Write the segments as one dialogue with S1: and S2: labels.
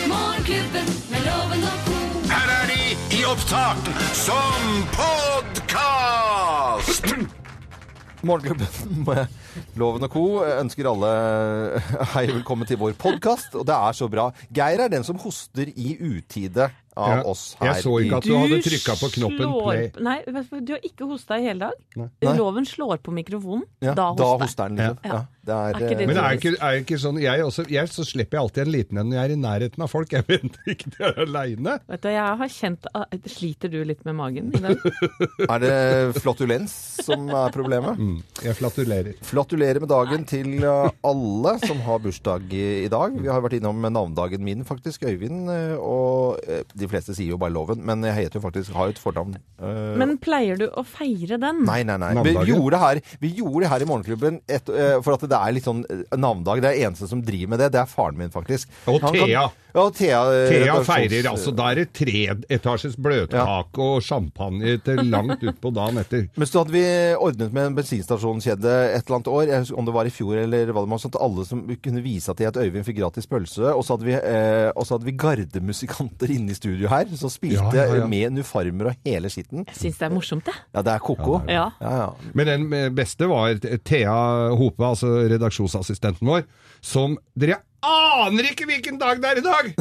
S1: Morgenklubben med loven og ko.
S2: Her er de i opptak som podkast!
S3: Morgenklubben med Loven og Co. ønsker alle eh, hei og velkommen til vår podkast. Og det er så bra. Geir er den som hoster i utide av
S4: Ja.
S3: oss her.
S4: Jeg så ikke at
S3: i,
S4: du hadde trykka på knoppen
S5: slår
S4: play.
S5: på- Nei, vet du, du har ikke hosta i hele dag.
S3: Nei.
S5: Loven slår på mikrofonen.
S3: ja,
S5: da
S3: Da
S5: hoster jeg.
S3: hoster han, liksom.
S5: Ja.
S3: Ja.
S5: Er ikke
S3: det
S5: det
S3: er, eh,
S4: Men det er ikke, er ikke sånn jeg, også, jeg så slipper jeg alltid en liten en når jeg er i nærheten av folk. Jeg vet ikke de er aleine.
S5: Vet du, jeg har kjent at- Sliter du litt med magen i dag?
S3: er det flatulens som er problemet?
S4: Jeg flatulerer.
S3: Flatulerer med dagen til uh, alle som har bursdag i, i dag. Vi har vært innom navnedagen min, faktisk. Øyvind. uh, Og uh, de fleste sier jo bare Loven, men jeg heter jo faktisk har jo et fornavn. uh,
S5: Men pleier du å feire den?
S3: Nei, nei, nei. Vi
S4: Navnedagen?
S3: gjorde, det her, vi gjorde det her i Morgenklubben et, eh, for at det er litt sånn eh, navnedag. Det er eneste som driver med det. Det er faren min, faktisk.
S4: Og
S3: Han
S4: Thea.
S3: ja, og Thea, eh,
S4: Thea
S3: redaksjons-
S4: feirer altså. Da er det treetasjes bløtkake og champagne til langt utpå dagen etter.
S3: Men så hadde vi ordnet med en bensinstasjonskjede et eller annet år, jeg husker om det var i fjor eller hva det var, sånn at alle som kunne vise at de het Øyvind fikk gratis pølse, og så hadde vi, eh, og så hadde vi gardemusikanter inne i studio her, som spilte
S4: Ja, ja, ja.
S3: med uniformer og hele skitten.
S5: Jeg syns det er morsomt, jeg.
S3: Ja, det er koko.
S5: Ja.
S3: Ja, ja.
S4: Men den eh, beste var Thea Hope, altså redaksjonsassistenten vår, som dere aner ikke hvilken dag det er i dag!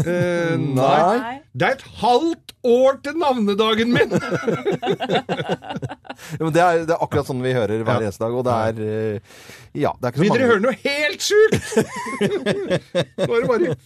S4: Eh,
S3: Nei.
S4: Det er et halvt år til navnedagen min!
S3: Ja, men det, er, det er akkurat sånn vi hører hver
S4: Ja.
S3: eneste dag, og det er eh, Ja, det er ikke så
S4: Vil
S3: mange
S4: dere høre noe helt sjukt? Nå er det bare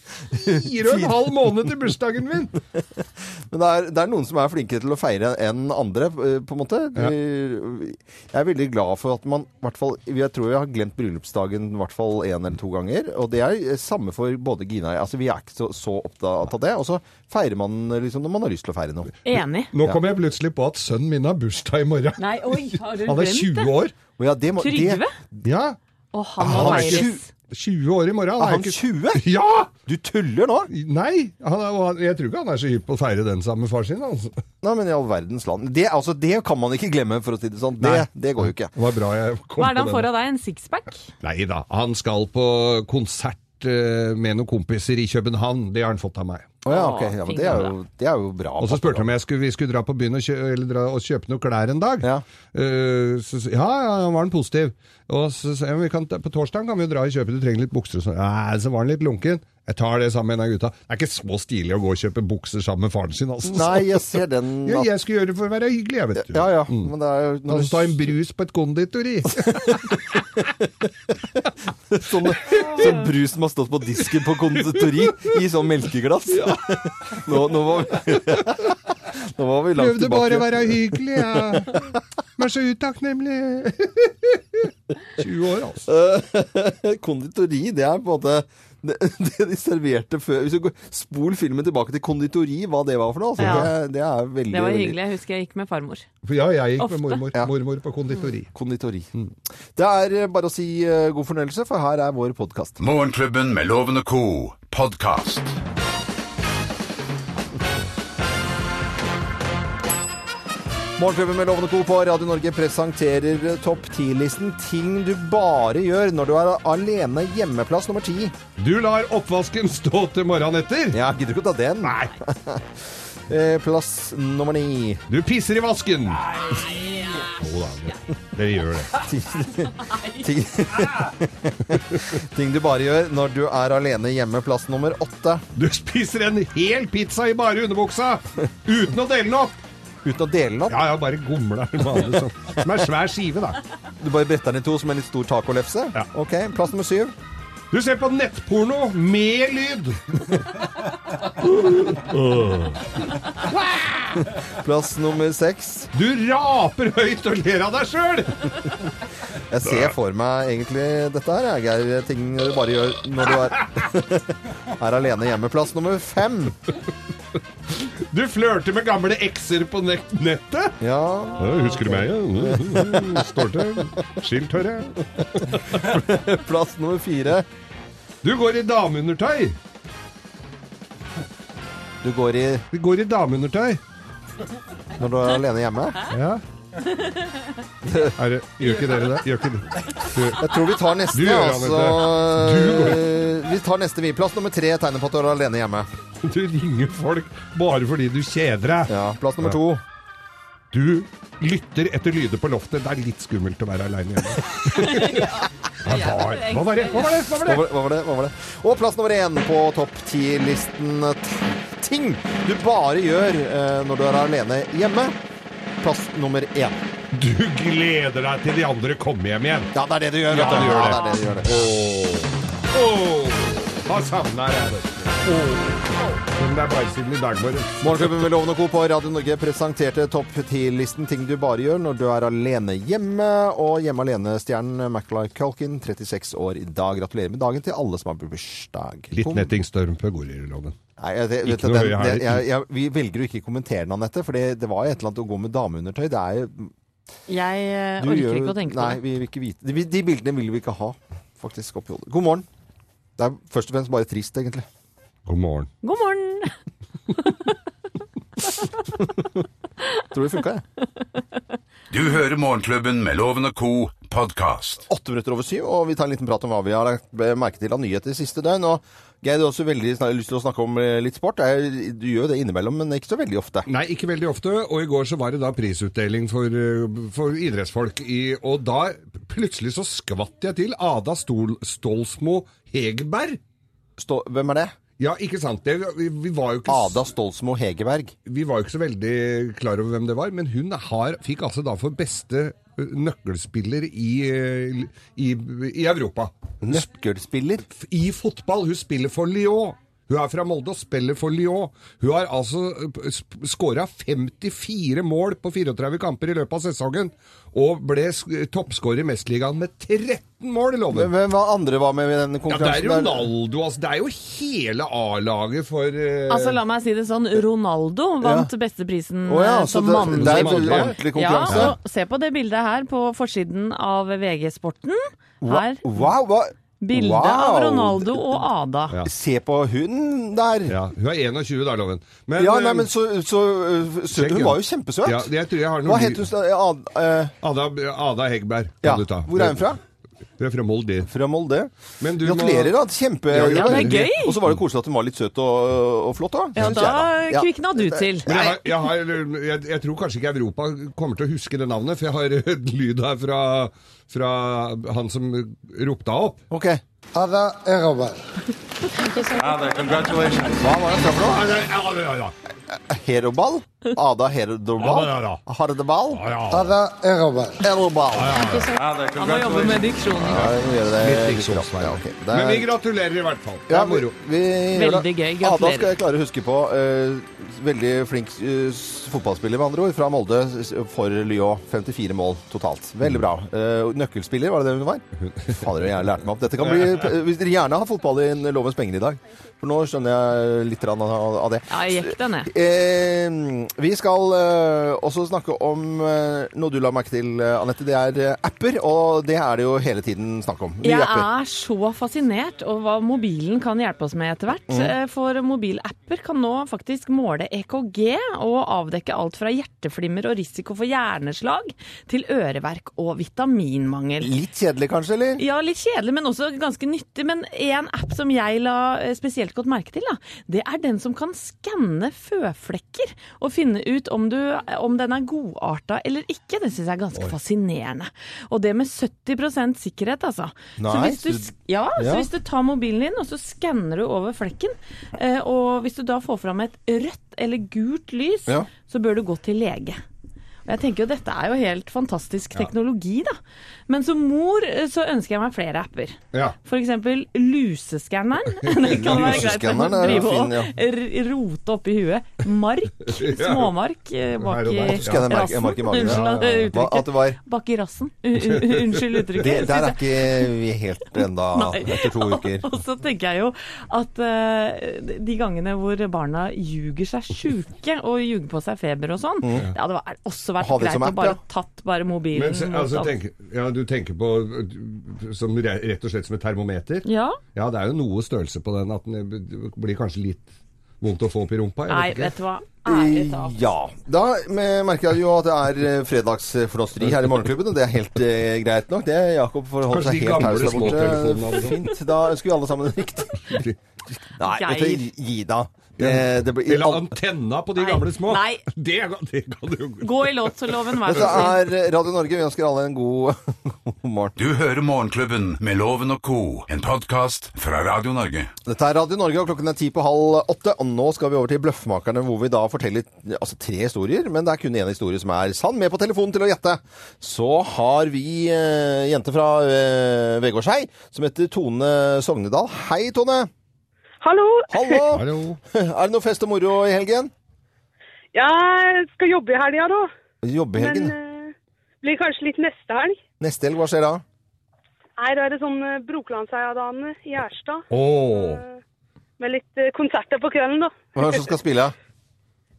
S4: fire og en halv måned til bursdagen min.
S3: Men det er, det er noen som er flinkere til å feire enn andre, eh, på en måte.
S4: Ja.
S3: Vi- Jeg er veldig glad for at man i hvert fall Jeg tror jeg har glemt bryllupsdagen i hvert fall én eller to ganger. Og det er eh, samme for både Gina og jeg. Altså, vi er ikke så, så opptatt av det. Og så feirer man liksom når man har lyst til å feire noe.
S5: Enig.
S4: Nå kom jeg plutselig på at sønnen min har bursdag i morgen.
S5: Nei, oi, har du
S4: Han er
S5: glemt
S4: 20
S5: det?
S4: år.
S3: Og ja, det må,
S5: Trygve?
S3: Det,
S4: Ja,
S5: Og han
S3: Han
S5: må
S3: er
S5: feires.
S4: 20 år i morgen.
S3: er
S4: er
S3: han
S4: ikke-
S3: 20?
S4: Ja!
S3: Du tuller nå?
S4: Nei, han er, og han- jeg tror ikke han er så hypp på å feire den sammen med far sin. Altså.
S3: Nei, men i all verdens land. Det, altså, det kan man ikke glemme, for å si det sånn. Det,
S4: Nei.
S3: det går jo ikke.
S4: Det var bra jeg kom
S5: Hva er det han
S4: på
S5: får
S4: den.
S5: av deg? En sixpack?
S4: Nei da, han skal på konsert eh, med noen kompiser i København. Det har han fått av meg.
S3: Å ja, ok. Ja, men det er jo, det er jo bra.
S4: Og så spurte han om jeg skulle, vi skulle dra på byen og, kjø, eller dra og kjøpe noen klær en dag.
S3: Ja.
S4: Eh, så, så- ja, ja, han var han positiv. Og så sa jeg, «Men vi kan, ta- på torsdagen kan vi jo dra og kjøpe, du trenger litt bukser og sånn. Nei, så var han litt lunken. Jeg tar det sammen med en av gutta. Det er ikke så stilig å gå og kjøpe bukser sammen med faren sin, altså.
S3: Nei, jeg ser den Mm.
S4: Ja, jeg skulle gjøre det for å være hyggelig, jeg vet du.
S3: Ja, ja. Men det er jo når
S4: Og
S3: du-
S4: så ta en brus på et konditori.
S3: Sånn, sånn brus som har stått på disken på konditori i sånn melkeglass. Nå, nå, var vi, nå var vi langt
S4: Prøvde bare å
S3: tilbake.
S4: være hyggelig, jeg. Men så utakknemlig. 20 år, altså.
S3: Konditori, det er på en måte det, det de serverte før Hvis du går, Spol filmen tilbake til konditori, hva det var for noe. Altså,
S5: Ja.
S3: det, det er veldig
S5: Det var
S3: veldig-
S5: hyggelig. Jeg husker jeg gikk med farmor.
S4: For ja, jeg gikk
S5: Ofte.
S4: med mormor,
S3: Ja.
S4: mormor på konditori.
S3: Konditori. Hm. Det er eh, bare å si eh, god fornøyelse, for her er vår podkast.
S2: Morgenklubben med Loven og co. podkast.
S3: Morgenklubben med Lovende Co på Radio Norge presenterer eh, topp 10-listen ting du bare gjør når du er alene. Hjemmeplass nummer ti.
S4: Du lar oppvasken stå til morgenen etter.
S3: Jeg gidder ikke å ta den.
S4: Nei,
S3: Eh, Plass nummer ni.
S4: du pisser i vasken. Jo da, det- dere gjør det.
S3: Ting, ting du bare gjør når du er alene hjemme. Plass nummer åtte.
S4: Du spiser en hel pizza i bare underbuksa uten å dele den opp.
S3: Uten å dele den opp.
S4: Ja, ja, bare gomler den vanlig sånn. Som er svær skive, da.
S3: Du bare bretter den i to som en litt stor tacolefse.
S4: Ja.
S3: Ok, Plass nummer syv.
S4: Du ser på nettporno med lyd.
S3: Plass nummer seks.
S4: Du raper høyt og ler av deg sjøl.
S3: Jeg ser for meg egentlig dette her, jeg, Geir. Ting du bare gjør når du er, er alene hjemme. Plass nummer fem.
S4: Du flørter med gamle ekser på nett nettet.
S3: Ja.
S4: husker du meg? Ja. Står til. Skiltørre.
S3: Plass nummer fire.
S4: Du går i dameundertøy.
S3: Du går i
S4: Du går i dameundertøy.
S3: når du er alene hjemme.
S4: Ja. Er det, gjør ikke dere det? Gjør ikke dere.
S3: Jeg tror vi tar neste,
S4: Du gjør det,
S3: altså.
S4: Anette. Du
S3: Vi tar neste, vi. Plass nummer tre tegner på at du er alene hjemme.
S4: Du ringer folk bare fordi du kjeder deg.
S3: Ja, Plass nummer to.
S4: Du lytter etter lyder på loftet. Det er litt skummelt å være aleine hjemme. Hva var, hva var det? Hva var det? Hva var
S3: Hva
S4: det?
S3: var, hva var det? Hva var det? Og plass nummer én på topp ti-listen t- ting du bare gjør eh, når du er alene hjemme. Plass nummer én.
S4: Du gleder deg til de andre kommer hjem igjen.
S3: Ja, det er det du gjør.
S4: Ja,
S3: vet du.
S4: du gjør
S3: Ja, det er det du gjør. Det.
S4: Åh, hva savner jeg? Åh, Men det er bare siden i dag morges.
S3: Morgenklubben med Loven og Co. på Radio Norge presenterte topp ti-listen ting du bare gjør når du er alene hjemme. Og hjemme alene-stjernen Macaulay Culkin, 36 år i dag. Gratulerer med dagen til alle som har bursdag.
S4: Litt
S3: Kom-
S4: nettingstørm på gorilloven.
S3: Nei, jeg, jeg, vet du,
S4: Ikke noe
S3: den,
S4: høye hæler.
S3: den, jeg, jeg, vi velger å ikke kommentere den, Anette, for det, det var et eller annet å gå med dameundertøy. Det er jo
S5: Jeg eh,
S3: Du
S5: orker
S3: gjør-
S5: ikke å tenke
S3: nei,
S5: på det.
S3: vi vil ikke vite. De, de bildene vil vi ikke ha, faktisk, oppi hodet. God morgen. Det er først og fremst bare trist, egentlig.
S4: God morgen.
S5: God
S3: Eh.
S5: morgen!
S3: Tror det funka, jeg.
S2: Du hører Morgenklubben med Loven og Co. podkast.
S3: Åtte minutter over syv, og vi tar en liten prat om hva vi har lagt merke til av nyheter siste døgn. Og Geir, du har også veldig snar- lyst til å snakke om eh, litt sport. Jeg, du gjør jo det innimellom, men ikke så veldig ofte.
S4: Nei, ikke veldig ofte. Og i går så var det da prisutdeling for, eh, for idrettsfolk. I, og da plutselig så skvatt jeg til Ada Stol, Stolsmo Hegerberg.
S3: Stå, hvem er det?
S4: Ja, ikke sant. Det, vi, vi, var jo ikke, s-
S3: Ada Stolsmo Hegerberg.
S4: vi var jo ikke så veldig klar over hvem det var, men hun har, fikk altså da for beste eh, nøkkelspiller i, eh, i, i Europa.
S3: Nøkkelspiller.
S4: i fotball. Hun spiller for Lyon. Hun er fra Molde og spiller for Lyon. Hun har altså skåra 54 mål på 34 kamper i løpet av sesongen, og ble sk- toppskårer i Mesterligaen med 13 mål,
S3: Hvem
S4: loven!
S3: hvem var andre var med i den
S4: Ja, det er
S3: konkurransen? der?
S4: Ronaldo, altså. Det er jo hele A-laget for eh,
S5: Altså, la meg si det sånn. Ronaldo vant beste prisen
S3: Å ja,
S5: eh,
S3: så
S5: som
S3: det,
S5: mannlig.
S3: det er
S4: mannlig.
S3: ordentlig konkurranse.
S5: Ja, og se på det bildet her på forsiden av VG-sporten. Her.
S3: Wow, hva?
S5: Bildet av Ronaldo og Ada.
S4: Ja.
S3: Se på hunden der. Ja,
S4: Ja, hun er 21 da, loven. Men,
S3: nei, men
S4: eh,
S3: så, så øh, søt.
S4: sjekk,
S3: Hun
S4: ja.
S3: var jo kjempesøt.
S4: Ja, jeg tror jeg har noen
S3: Hva het hun? sta- ja, Ad- eh,
S4: Ada, Ada Hegberg. kan
S3: Ja.
S4: du ta.
S3: Hvor er hun fra?
S4: Hun er fra Molde.
S3: Fra Molde.
S4: Men du må-
S3: Gratulerer, da. Kjempe...
S4: Ja, ja,
S5: det er gøy.
S3: Og så var det koselig at hun var litt søt og, og flott, da.
S5: Ja,
S3: Synes
S5: da
S3: jeg, da. Ja.
S5: kvikna du til.
S4: Men jeg, har, jeg, har, jeg, jeg tror kanskje ikke Europa kommer til å huske det navnet, for jeg har et lyd her fra, fra han som ropte henne opp.
S3: Ok.
S6: Ada Eroberg.
S5: altså.
S3: Hva var det jeg sa for noe?
S4: Ja,
S3: Heroball? Ada Herodoball?
S4: Ja, ja, ja.
S3: Hardeball?
S4: ja.
S6: Ada Eroberg.
S3: Eroball.
S5: Han må jobbe med diksjonen.
S3: Ja, vi gjør det
S4: Litt
S3: litt raskt.
S4: diksjonsfeil.
S3: Ja, ok. Det
S4: Men vi
S3: er-
S4: gratulerer i hvert fall. Det
S3: Ja,
S4: er moro.
S3: vi- vi gjør det.
S5: Veldig gøy.
S3: Ada skal
S5: Gratulerer.
S3: jeg klare å huske på. eh, veldig flink eh, s- fotballspiller, med andre ord, fra Molde s- for Lyon. 54 mål totalt. Veldig bra. Eh, og nøkkelspiller, var det det hun var? Fader, jeg lærte meg opp. Dette kan bli eh, Hvis dere gjerne har fotball i en Lovens penger i dag. For nå skjønner jeg litt grann av av det.
S5: Ja, jeg gikk den, jeg.
S3: Eh, vi skal eh, også snakke om eh, noe du la merke til, eh, Anette. Det er eh, apper, og det er det jo hele tiden snakk om. Nye
S5: Jeg
S3: apper.
S5: er så fascinert over hva mobilen kan hjelpe oss med etter hvert.
S3: Mm.
S5: Eh, For mobilapper kan nå faktisk måle EKG og avdekke alt fra hjerteflimmer og risiko for hjerneslag til øreverk og vitaminmangel.
S3: Litt kjedelig kanskje, eller?
S5: Ja, litt kjedelig, men også ganske nyttig. Men en app som jeg la eh, spesielt godt merke til, da, det er den som kan skanne føflekker og finne ut om, du, om den er godarta eller ikke. Det syns jeg er ganske fascinerende. Og det med 70 sikkerhet, altså. så,
S3: Nei,
S5: hvis du,
S3: så-
S5: sk- ja,
S3: ja.
S5: så hvis du tar mobilen din og så skanner du over flekken, eh, og hvis du da får fram et rødt eller gult lys,
S3: Ja.
S5: så bør du gå til lege. Og jeg tenker jo dette er jo helt fantastisk teknologi, da. Men som mor eh, så ønsker jeg meg flere apper.
S4: Ja.
S5: For eksempel luseskanneren. Det kan være greit å
S3: Luseskanneren er
S5: drive
S3: fin,
S5: og
S3: ja.
S5: r- rote oppi huet. Mark. Småmark eh, bak
S4: Her og
S5: i
S4: der. At du
S3: skanner mark-
S5: rassen.
S3: mark i magen, ja.
S5: Unnskyld eh,
S3: Hva, at
S5: uttrykket.
S3: det var
S5: Bak i rassen. Un- un- Unnskyld uttrykket.
S3: Det, der er ikke vi helt enda etter to uker.
S5: Og så tenker jeg jo at eh, de gangene hvor barna ljuger seg sjuke og ljuger på seg feber og sånn, det hadde vært- også vært
S3: Mm. Ha det som
S5: greit å
S3: app,
S5: bare
S3: ja.
S5: tatt bare mobilen.
S4: Men, se-
S5: mot
S4: altså,
S5: alt.
S4: tenk, ja, du tenker på uh, som, re- rett og slett som et termometer?
S5: Ja.
S4: Ja, det er jo noe størrelse på den at den blir kanskje litt vondt å få opp i rumpa.
S5: Nei,
S4: Jeg vet
S5: vet
S4: ikke.
S5: du hva. Ærlig talt.
S3: Ja. Da me- merker jeg jo at det er eh, fredagsfnåsteri her i Morgenklubben, og det er helt eh, greit nok. Det Jakob forholder
S4: Kanskje
S3: seg helt
S4: de gamle
S3: taus der borte.
S4: småtelefonene hadde sånn.
S3: Fint. Da ønsker vi alle sammen en riktig Nei,
S5: Geir.
S3: vet du, gi da. Eh, det blir,
S4: Eller antenna på de
S5: Nei.
S4: gamle små.
S5: Nei.
S4: Det, det kan du jo
S5: Gå i låtloven, vær
S3: Dette
S5: så snill.
S3: Altså, er Radio Norge. Vi ønsker alle en god, god morgen.
S2: Du hører Morgenklubben med Loven og co., en podkast fra Radio Norge.
S3: Dette er Radio Norge, og klokken er ti på halv åtte. Og nå skal vi over til Bløffmakerne, hvor vi da forteller altså, tre historier, men det er kun én historie som er sann. Med på telefonen til å gjette så har vi eh, jente fra eh, Vegårshei som heter Tone Sognedal. Hei, Tone.
S7: Hallo.
S3: Hallo.
S4: Hallo.
S3: er det noe fest og moro i helgen?
S7: Jeg skal jobbe i helga, da. Men
S3: Jobbehelgen.
S7: eh, blir kanskje litt neste helg.
S3: Neste helg, hva skjer da?
S7: Nei, da er det sånn eh, Brokelandsheia-dagene i Gjerstad.
S4: Åh.
S7: Med litt eh, konserter på kvelden, da.
S3: Hvem er det som skal spille?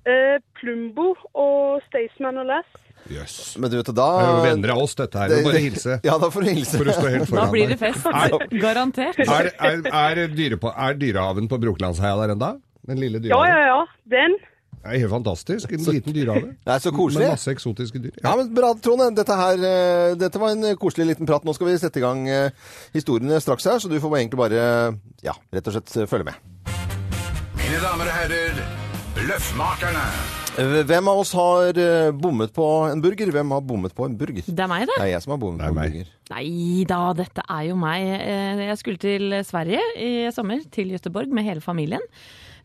S7: Eh, Plumbo og Staysman og Lass.
S4: Jøss.
S3: Men du vet, da
S4: Det er jo venner av oss, dette her. Det er bare å hilse.
S3: Ja, da får du hilse.
S4: For å stå helt
S5: Da
S4: foran
S5: blir det
S4: deg.
S5: fest, altså. Garantert.
S4: Er, er, er, dyre på, er dyrehaven på Brokelandsheia der ennå? Den lille
S7: Ja, ja,
S4: dyrehaven?
S7: ja. Den.
S4: Det er helt fantastisk. En liten dyrehave.
S3: Det er så
S4: Med
S3: koselig.
S4: masse eksotiske dyr.
S3: Ja, men Bra, Trone. Dette, her, eh, dette var en koselig liten prat. Nå skal vi sette i gang eh, historiene straks her, så du får egentlig bare ja, rett og slett eh, følge med.
S2: Mine damer og herrer, Løffmakerne.
S3: Eh, Hvem av oss har eh, bommet på en burger? Hvem har bommet på en burger?
S5: Det er meg,
S3: Det
S5: det.
S3: er jeg som har bommet
S4: Det er
S3: på en
S4: meg.
S3: burger.
S5: Nei da, dette er jo meg. Eh, Jeg skulle til Sverige i sommer, til Göteborg med hele familien.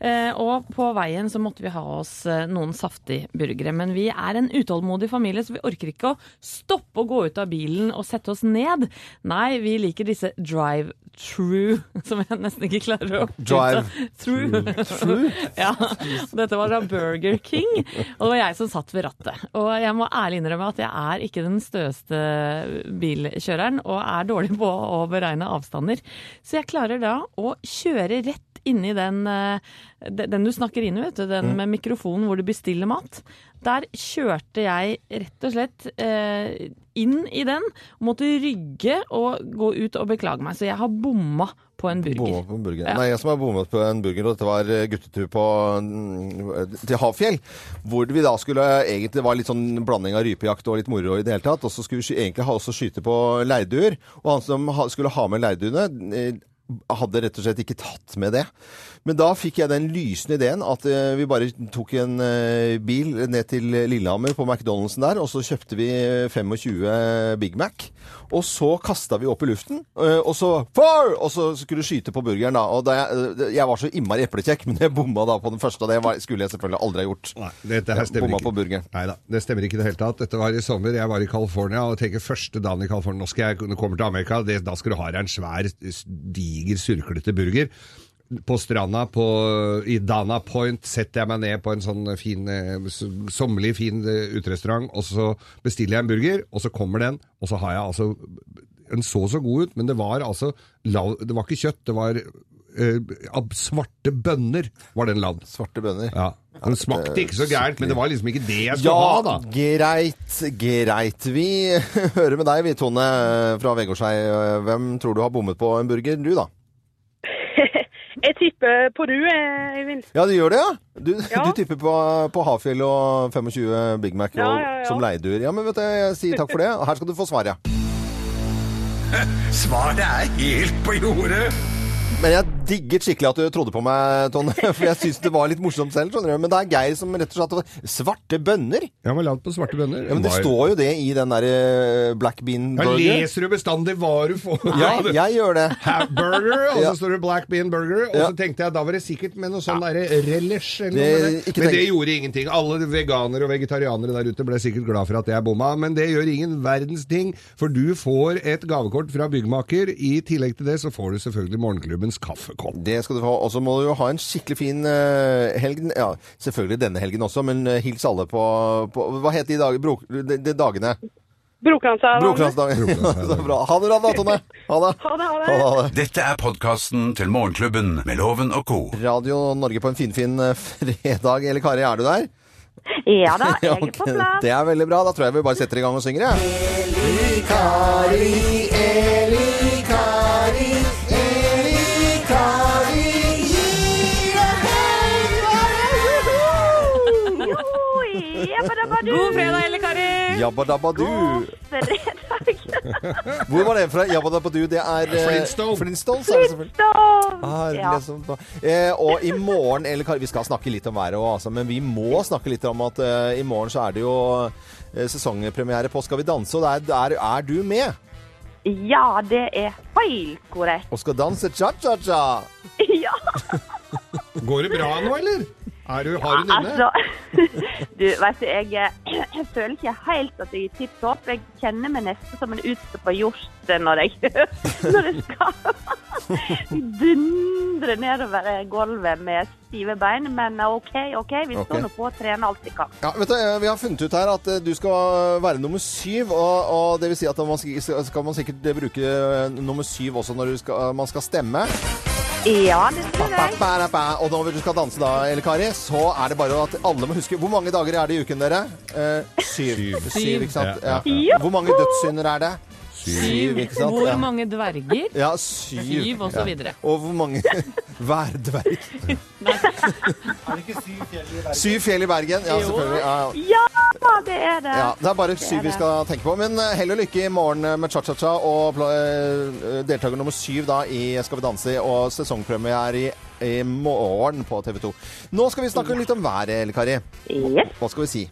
S5: Eh, Og på veien så måtte vi ha oss eh, noen saftig burgere. Men vi er en utålmodig familie, så vi orker ikke å stoppe å gå ut av bilen og sette oss ned. Nei, vi liker disse drive-true, som jeg nesten ikke klarer å
S3: Drive
S5: True. ja, og dette var da Burger King, og det var jeg som satt ved rattet. Og jeg må ærlig innrømme at jeg er ikke den støeste bilkjøreren, og er dårlig på å beregne avstander. Så jeg klarer da å kjøre rett inni den, eh, de- den du snakker inn i, vet du, den med mikrofonen hvor du bestiller mat. Der kjørte jeg rett og slett eh, inn i den, måtte rygge og gå ut og beklage meg. Så jeg har bomma på en burger.
S3: Bommet på en burger.
S5: Ja.
S3: Nei, jeg som har bommet på en burger, og dette var eh, guttetur på, mm, til Havfjell. Hvor vi da skulle egentlig Det var litt sånn blanding av rypejakt og litt moro i det hele tatt. Og så skulle vi sky- egentlig ha, også skyte på leirduer. Og han som ha, skulle ha med leirduene eh, hadde rett og slett ikke tatt med det. Men da fikk jeg den lysende ideen at eh, vi bare tok en eh, bil ned til Lillehammer på McDonald'sen der, og så kjøpte vi 25 Big Mac. Og så kasta vi opp i luften, eh, og så far! Og så skulle du skyte på burgeren, da. Og da jeg, eh, jeg var så innmari eplekjekk, men jeg bomma da på den første, og det var, skulle jeg selvfølgelig aldri ha gjort.
S4: Nei, dette her stemmer
S3: Bomma
S4: ikke.
S3: på burgeren.
S4: Neida, det stemmer ikke i det hele tatt. Dette var i sommer, jeg var i California, og tenker første dagen i California, nå skal jeg, når jeg kommer til Amerika, det, da skal du ha deg en svær, s- diger, surklete burger. På stranda på, i Dana Point setter jeg meg ned på en sånn fin, eh, s- sommerlig fin eh, uterestaurant, og så bestiller jeg en burger, og så kommer den, og så har jeg altså Den så så god ut, men det var altså lav, Det var ikke kjøtt, det var eh, av svarte bønner var den lagd.
S3: Svarte bønner.
S4: Ja. Den smakte ikke så gærent, men det var liksom ikke det jeg skulle ha,
S3: Ja,
S4: da.
S3: greit, greit. Vi hører med deg, vi, Tone fra Vegårshei. Eh, Hvem tror du har bommet på en burger? Du, da?
S7: Jeg tipper på du, eh, Eivind.
S3: Ja, du gjør det, ja? Du,
S7: Ja.
S3: du tipper på, på Hafjell og 25 Big Mac
S7: Ja,
S3: og,
S7: ja, ja.
S3: som leieduer. Ja, men vet du, jeg sier takk for det. Her skal du få svaret.
S2: Svaret er helt på jordet.
S3: Men jeg digget skikkelig at du trodde på meg, Tone. For jeg syns det var litt morsomt selv. skjønner du. Men det er Geir som rett og slett Svarte bønner?
S4: Ja, men lagd på svarte bønner.
S3: Ja, men det står jo det i den derre black bean
S4: ja,
S3: burger.
S4: leser du bestandig hva du får.
S3: Ja, jeg gjør det.
S4: Burger, og
S3: Ja.
S4: så står det black bean burger. Og
S3: Ja.
S4: så tenkte jeg da var det sikkert med noe sånn derre relish eller noe.
S3: Det-
S4: med det.
S3: ikke
S4: Men det
S3: tenk-
S4: gjorde ingenting. Alle veganere og vegetarianere der ute ble sikkert glad for at jeg bomma, men det gjør ingen verdens ting. For du får et gavekort fra byggmaker. I tillegg til det så får du selvfølgelig morgenklubbens kaffekopp.
S3: Det skal du få. Og så må du jo ha en skikkelig fin eh, helg. Ja, selvfølgelig denne helgen også, men eh, hils alle på, på Hva het de, dag, bro, de, de dagene?
S7: Brokelandsheia-dagene.
S3: Brokelandsdagen.
S4: Brokelandsdagen.
S3: så bra. Ha det bra, Tone. Ha det.
S7: Ha det, ha det.
S2: Dette er podkasten til Morgenklubben med Loven og co.
S3: Radio Norge på en finfin fin eh, fredag. Eller Kari, er du der?
S8: Ja da, jeg
S3: Ja,
S8: er
S3: ok.
S8: på plass.
S3: Det er veldig bra. Da tror jeg vi bare setter i gang og synger, jeg. Ja.
S8: Oi, jabba-dabba-du.
S5: God fredag, Elle Kari!
S3: Jabba dabba du.
S8: Fredag.
S3: Hvor var det fra? Jabba da Badoo, det er eh,
S4: Flintstone.
S3: Flintstones, er det selvfølgelig. Ah,
S7: Ja.
S3: liksom. eh, og i morgen, eller Kari, vi skal snakke litt om været òg, altså, men vi må snakke litt om at eh, i morgen så er det jo eh, sesongpremiere på Skal vi danse, og der, der er du med.
S8: Ja, det er helt korrekt.
S3: Og skal danse cha-cha-cha.
S8: Ja,
S4: Går det bra nå, eller? Er du, har du den inne?
S8: altså Du, vet du, jeg, eh, jeg føler ikke helt at jeg er tipp topp. Jeg kjenner meg nesten som en utstoppa hjort når jeg når jeg skal dundre nedover gulvet med stive bein. Men OK, OK. Vi står
S3: Ok.
S8: nå på og trener alt vi kan.
S3: Ja, vet du, eh, Vi har funnet ut her at eh, du skal være nummer syv. Og, og det vil si at man skal, skal man sikkert bruke eh, nummer syv også når du skal, eh, man skal stemme.
S8: Ja, det tror
S3: Ba,
S8: jeg.
S3: ba, da, ba. Og når du skal danse da, Elle Kari, så er det bare at alle må huske Hvor mange dager er det i uken, dere? Eh, syv.
S4: Syv.
S3: Syv, ikke sant?
S4: Ja,
S3: Ja.
S4: ja,
S3: Hvor mange dødssynder er det?
S5: Syv.
S3: ikke sant?
S5: Hvor
S3: Ja.
S5: mange dverger?
S3: Ja, syv.
S5: Syv, og så
S3: Ja.
S5: videre.
S3: Og hvor mange Hver dverg. Syv fjell i Bergen. Ja, selvfølgelig. Ja, ja.
S8: Ja, det er det.
S3: Ja, det er bare syv vi skal tenke på. Men eh, hell og lykke i morgen eh, med cha-cha-cha og pla- eh, deltaker nummer syv da i Skal vi danse og sesongpremiere i, i morgen på TV 2. Nå skal vi snakke litt om været, Elle Kari.
S8: Yes.
S3: Hva skal vi si?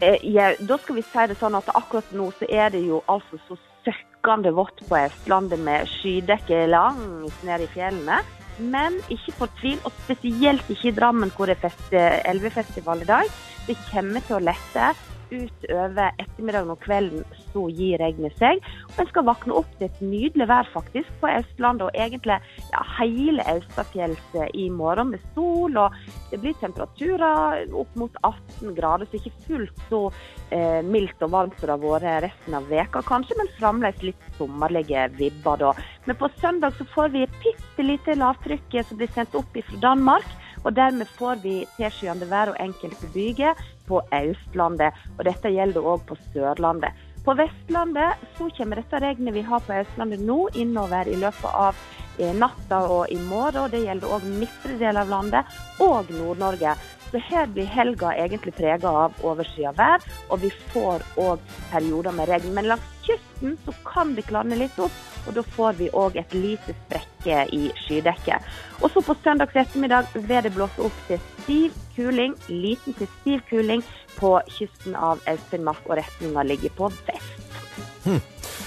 S8: Eh, ja, da skal vi si det sånn at akkurat nå så er det jo altså så søkkende vått på Østlandet med skydekke langt ned i fjellene. Men ikke fortvil, og spesielt ikke i Drammen hvor det er fest, eh, elvefestival i dag. Det kommer til å lette. Utover ettermiddagen og kvelden så gir regnet seg. Og en skal våkne opp til et nydelig vær faktisk på Østlandet og egentlig ja, hele Austafjells eh, i morgen med sol. og det blir temperaturer opp mot 18 grader, så ikke fullt så eh, mildt og varmt som det har vært resten av veka kanskje, men fremdeles litt sommerlige vibber da. Men på søndag så får vi et bitte lite lavtrykk som blir sendt opp fra Danmark, og dermed får vi tilskyende vær og enkelte byger på Østlandet, og dette gjelder også på Sørlandet. På Vestlandet så kommer dette regnet vi har på Østlandet nå innover i løpet av eh, natta og i morgen. og Det gjelder òg midtre del av landet og Nord-Norge. Så her blir helga egentlig prega av overskyet vær, og vi får òg perioder med regn. Men langs kysten så kan det klanne litt opp, og da får vi òg et lite sprekke i skydekket. Og så på søndags ettermiddag vil det blåse opp til stiv kuling, liten til stiv kuling på kysten av Øst-Finnmark, og retninga ligger på vest.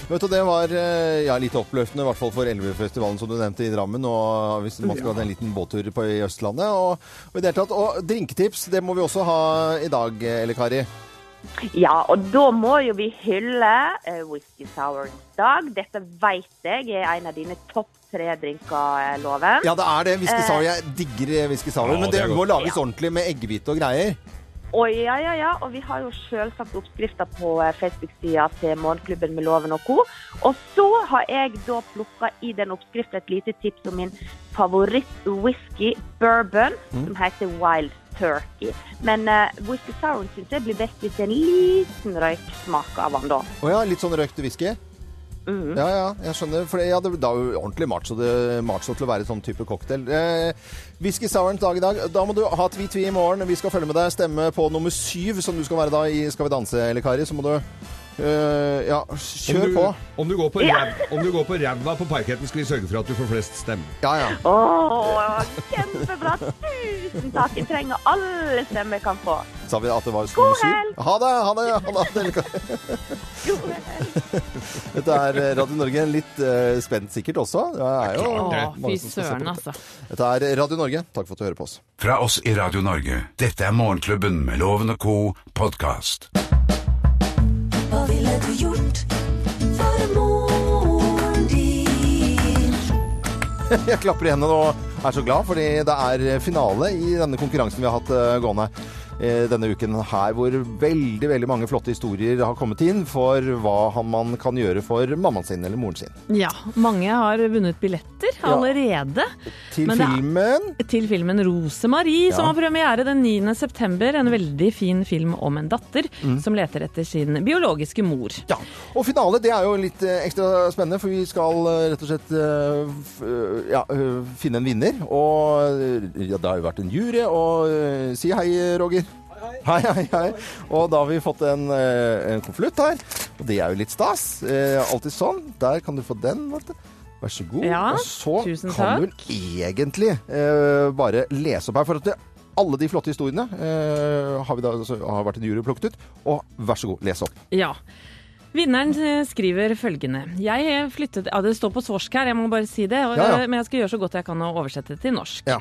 S3: Vet du, Det var eh, ja, litt oppløftende, i hvert fall for Elvefestivalen som du nevnte i Drammen. Og hvis man skulle hatt en liten båttur på i Østlandet. Og, og i det hele tatt, og drinketips, det må vi også ha i dag, eh, Elle Kari.
S8: Ja, og da må jo vi hylle eh, Whisky Sourens dag. Dette vet jeg er en av dine topp tre drinker, eh, Loven.
S3: Ja, det er det. Whisky sour. Jeg digger whisky sour.
S4: Ja,
S3: men
S4: det
S3: det
S4: er
S3: må
S4: godt.
S3: lages ordentlig med eggehvite og greier.
S8: Og ja, ja, ja, og vi har jo selvsagt oppskrifter på eh, Facebook-sida til Morgenklubben med Loven og co. Og så har jeg da plukka i den oppskriften et lite tips om min favoritt-whisky, bourbon, som heter Wild Turkey. Men eh, whisky souren syns jeg blir best hvis det er en liten røyksmak av den, da.
S3: Å ja, litt sånn røykt whisky?
S8: Mhm.
S3: Ja, ja, jeg skjønner. For jeg hadde da jo ordentlig macho, det, macho til å være sånn type cocktail. Eh, whisky Sourens dag i dag. Da må du ha tvi-tvi i morgen. Vi skal følge med deg. Stemme på nummer syv, som du skal være da i Skal vi danse, eller Kari. Så må du eh, Ja,
S4: Om
S3: kjør
S4: du,
S3: på.
S4: om du går på ræv- om du går på ræva på parketten, skal vi sørge for at du får flest stemmer.
S3: Ja, ja.
S8: Å, kjempebra! Tusen takk! Jeg trenger alle stemmer jeg kan få.
S3: Sa vi at det var
S8: God
S3: nummer syv?
S8: helg!
S3: Ha det! Ha det! Ha det, Elle Kari. Dette er Radio Norge. Litt eh, spent sikkert også. Det er jo
S5: Å, fy
S3: mange som skal se på
S5: søren,
S3: det.
S5: altså.
S3: Dette er Radio Norge. Takk for at du hører på oss.
S2: Fra oss i Radio Norge. Dette er Morgenklubben med Loven og co. podkast.
S1: Hva ville du gjort for en morgen din?
S3: Jeg klapper i hendene og er så glad, fordi det er finale i denne konkurransen vi har hatt eh, gående eh, denne uken her, hvor veldig, veldig mange flotte historier har kommet inn for hva han- man kan gjøre for mammaen sin eller moren sin.
S5: Ja, mange har vunnet billetter allerede.
S3: Til
S5: Men det er-
S3: filmen
S5: til filmen Rosemarie, som har premiere den 9. september. En veldig fin film om en datter
S3: Mm.
S5: som leter etter sin biologiske mor.
S3: Ja, og finale det er jo litt eh, ekstra spennende, for vi skal eh, rett og slett eh, f- eh, ja, eh, finne en vinner. Og eh, ja, det har jo vært en jury, og eh, si hei, Roger. Hei, hei. Hei, hei, hei. Og da har vi fått en, eh, en konvolutt her. Og det er jo litt stas. Eh, alltid sånn. Der kan du få den. Vet du. Vær så god.
S5: Ja,
S3: og så
S5: tusen
S3: kan du
S5: takk.
S3: vel egentlig eh, bare lese opp her. For at det, alle de flotte historiene eh, har, vi da, altså, har vært en jury plukket ut. Og vær så god, les opp.
S5: Ja. Vinneren eh, skriver følgende. Jeg eh, flyttet Ja, det står på svorsk her, jeg må bare si det. Og,
S3: Ja, ja.
S5: Men jeg skal gjøre så godt jeg kan å oversette det til norsk.
S3: Ja.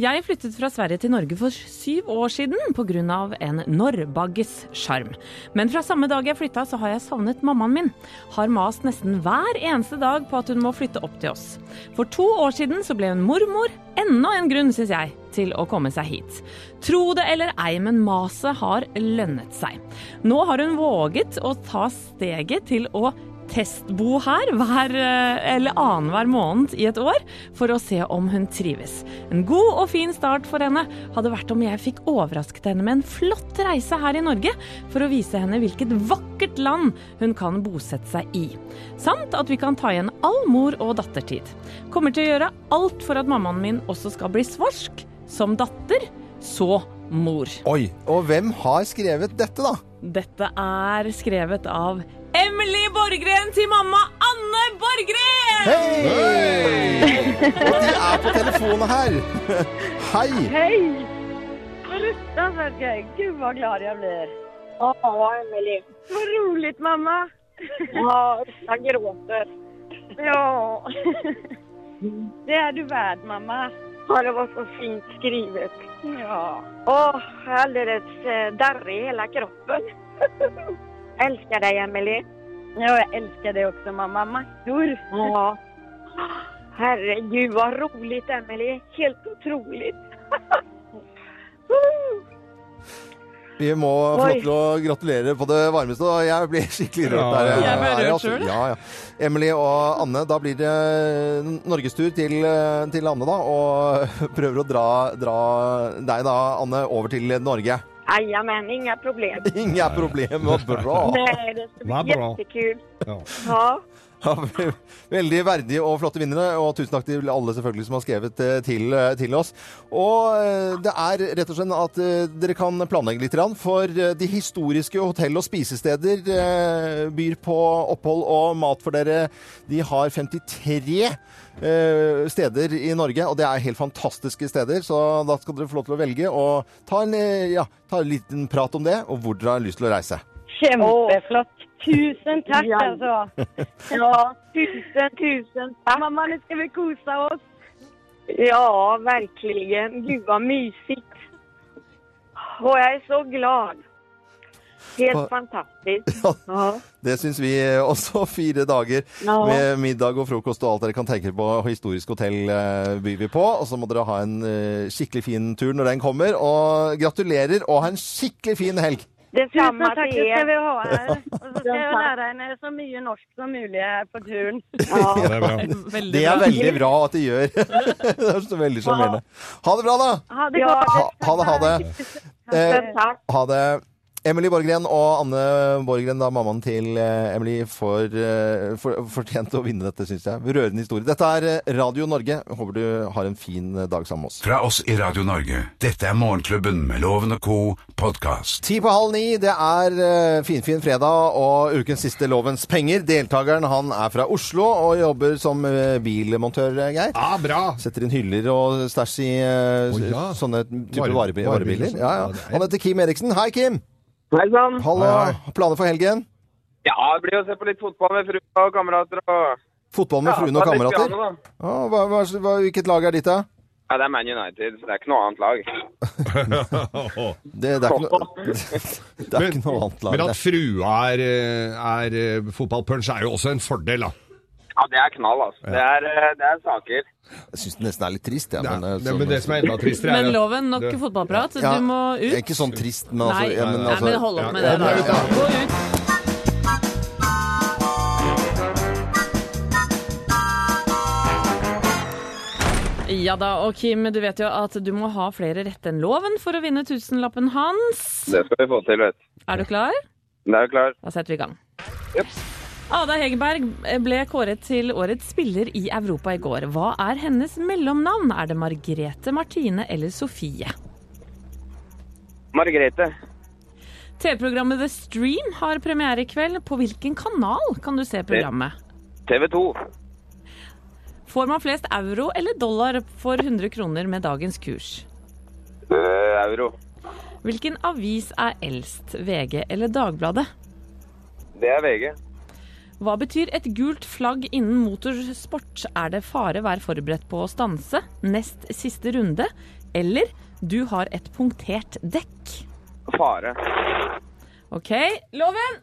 S5: Jeg flyttet fra Sverige til Norge for syv år siden pga. en norrbagges sjarm. Men fra samme dag jeg flytta, så har jeg savnet mammaen min. Har mast nesten hver eneste dag på at hun må flytte opp til oss. For to år siden så ble hun mormor. Enda en grunn, syns jeg, til å komme seg hit. Tro det eller ei, men maset har lønnet seg. Nå har hun våget å ta steget til å testbo her hver eh, eller annenhver måned i et år for å se om hun trives. En god og fin start for henne hadde vært om jeg fikk overrasket henne med en flott reise her i Norge for å vise henne hvilket vakkert land hun kan bosette seg i. Samt at vi kan ta igjen all mor- og dattertid. Kommer til å gjøre alt for at mammaen min også skal bli svorsk, som datter, så mor.
S3: Oi. Og hvem har skrevet dette, da?
S5: Dette er skrevet av Emily Borggren til mamma Anne Borggren!
S3: Hei! Og de er på telefonen her. Hei.
S7: Hei! Fruktansvärt gøy. Gud vad glad jag blir. Ja, Emily. Vad roligt mamma. Ja, jag gråter. Ja. Det är du värd mamma. Ja, det var så fint skrivet. Ja. Åh, jag är alldeles eh, darrig i hela kroppen. Älskar dig Emily. Ja, jag älskar dig också mamma. Massor. Ja. Herregud vad roligt Emily. Helt otroligt.
S3: Vi må få lov
S7: Oi.
S3: til å gratulere på det varmeste. Og jeg blir skikkelig rørt
S4: Ja,
S3: der.
S4: jeg
S5: ble
S3: her,
S5: rørt
S3: altså.
S5: selv, jeg.
S3: Ja, ja. Emily og Anne, da blir det eh, norgestur til, eh, til Anne, da. Og prøver å dra, dra deg, da, Anne, over til Norge.
S7: Jajamän, inga problem.
S3: Ingen problem, og bra!
S7: Nej, det ska
S4: Vad
S7: bli
S4: bra.
S7: jättekul.
S4: Ja.
S7: Ja.
S3: Ja, ve- veldig verdige og flotte vinnere, og tusen takk til alle selvfølgelig som har skrevet eh, til, eh, til oss. Og eh, det er rett og slett at eh, dere kan planlegge litt, grann, for eh, de historiske hotell- og spisesteder eh, byr på opphold og mat for dere. De har 53 eh, steder i Norge, og det er helt fantastiske steder, så da skal dere få lov til å velge og ta en, eh, ja, ta en liten prat om det, og hvor dere har lyst til å reise.
S7: Kjempeflott. Tusen takk, altså. Ja, tusen, tusen takk. Mamma, nå skal vi kose oss. Ja, virkelig. Gud, så mysig. Og jeg er så glad.
S3: Ja.
S7: Helt fantastisk. Ja.
S3: Det syns vi eh, også. Fire dager
S7: Ja.
S3: med middag og frokost og alt dere kan tenke på. Historisk hotell eh, byr vi på. Og så må dere ha en eh, skikkelig fin tur når den kommer. Og gratulerer, og ha en skikkelig fin helg!
S7: Det
S9: Tusen
S7: samme
S9: takk,
S7: til
S9: det skal
S7: dere.
S9: vi ha her. Og så skal jeg lære henne så mye norsk som mulig her på turen.
S4: Ja, det er bra.
S5: Veldig
S3: Det er
S5: bra.
S3: veldig bra at de gjør. det er så veldig sjarmerende. Ha det bra, da!
S9: Ha det
S7: Ja.
S9: godt.
S3: Ha, ha det, ha det. Eh,
S7: Tusen takk.
S3: ha det. Emily Borggren og Anne Borggren, da mammaen til eh, Emily, for, eh, for, fortjente å vinne dette, syns jeg. Rørende historie. Dette er eh, Radio Norge. Håper du har en fin eh, dag sammen med oss.
S2: Fra oss i Radio Norge. Dette er Morgenklubben med Loven og co. podkast.
S3: Ti på halv ni, det er eh, finfin fredag og ukens siste Lovens penger. Deltakeren han er fra Oslo og jobber som eh, bilmontør, eh, Geir.
S4: Ja, bra!
S3: Setter inn hyller og stæsj i eh,
S4: Å, ja.
S3: sånne typer
S4: Vare-
S3: varebi-
S4: varebiler,
S3: varebiler.
S4: sånn.
S3: Ja, ja.
S4: Ja, det er-
S3: Han heter Kim Eriksen. Hei, Kim!
S10: Hei sann.
S3: Hallo.
S4: Hei,
S3: Planer for helgen?
S10: Ja, det blir å se på litt fotball med frua og kamerater og
S3: Fotball med fruen
S10: Ja,
S3: og
S10: det er litt
S3: kamerater?
S10: piano, da.
S3: Ja, hva, hva, hva, hvilket lag er ditt, da?
S10: Ja, det er Man United, så det er ikke noe annet lag.
S3: Det, det, er ikke noe, det er ikke noe annet lag.
S4: Men at
S3: det.
S4: frua er, eh, er eh, fotballpunch er jo også en fordel, da.
S10: Ja, det er knall, altså. Det er, eh, det er saker.
S3: Jeg syns det nesten er litt trist. Ja,
S4: Det,
S3: men, eh,
S4: er- det,
S3: så-
S4: men det som er enda tristere, er
S5: Men
S4: at-
S5: loven, nok
S4: Det-
S5: fotballprat.
S3: Ja,
S5: Du må
S3: jeg er
S5: ut.
S3: Ikke sånn trist, men
S5: Nei,
S3: altså, ja, men,
S5: nei,
S3: altså
S5: men hold opp med
S4: ja,
S5: det.
S4: ja,
S5: da.
S4: ja.
S5: Gå ut. Ja da, og Kim, du vet jo at du må ha flere rette enn loven for å vinne tusenlappen hans.
S10: Det skal vi få til, vet du.
S5: Er du klar?
S10: Det er jo klart.
S5: Da setter vi i gang.
S10: Jep.
S5: Ada Hegerberg ble kåret til årets spiller i Europa i går. Hva er hennes mellomnavn? Er det Margrete, Martine eller Sofie?
S10: Margrethe.
S5: TV-programmet The Stream har premiere i kveld. På hvilken kanal kan du se programmet?
S10: TV 2.
S5: Får man flest euro eller dollar for 100 kroner med dagens kurs?
S10: euro.
S5: Hvilken avis er eldst, VG eller Dagbladet?
S10: Det er VG.
S5: Hva betyr et gult flagg innen motorsport? Er det fare, vær forberedt på å stanse, nest siste runde, eller du har et punktert dekk?
S10: Fare.
S5: OK, Loven!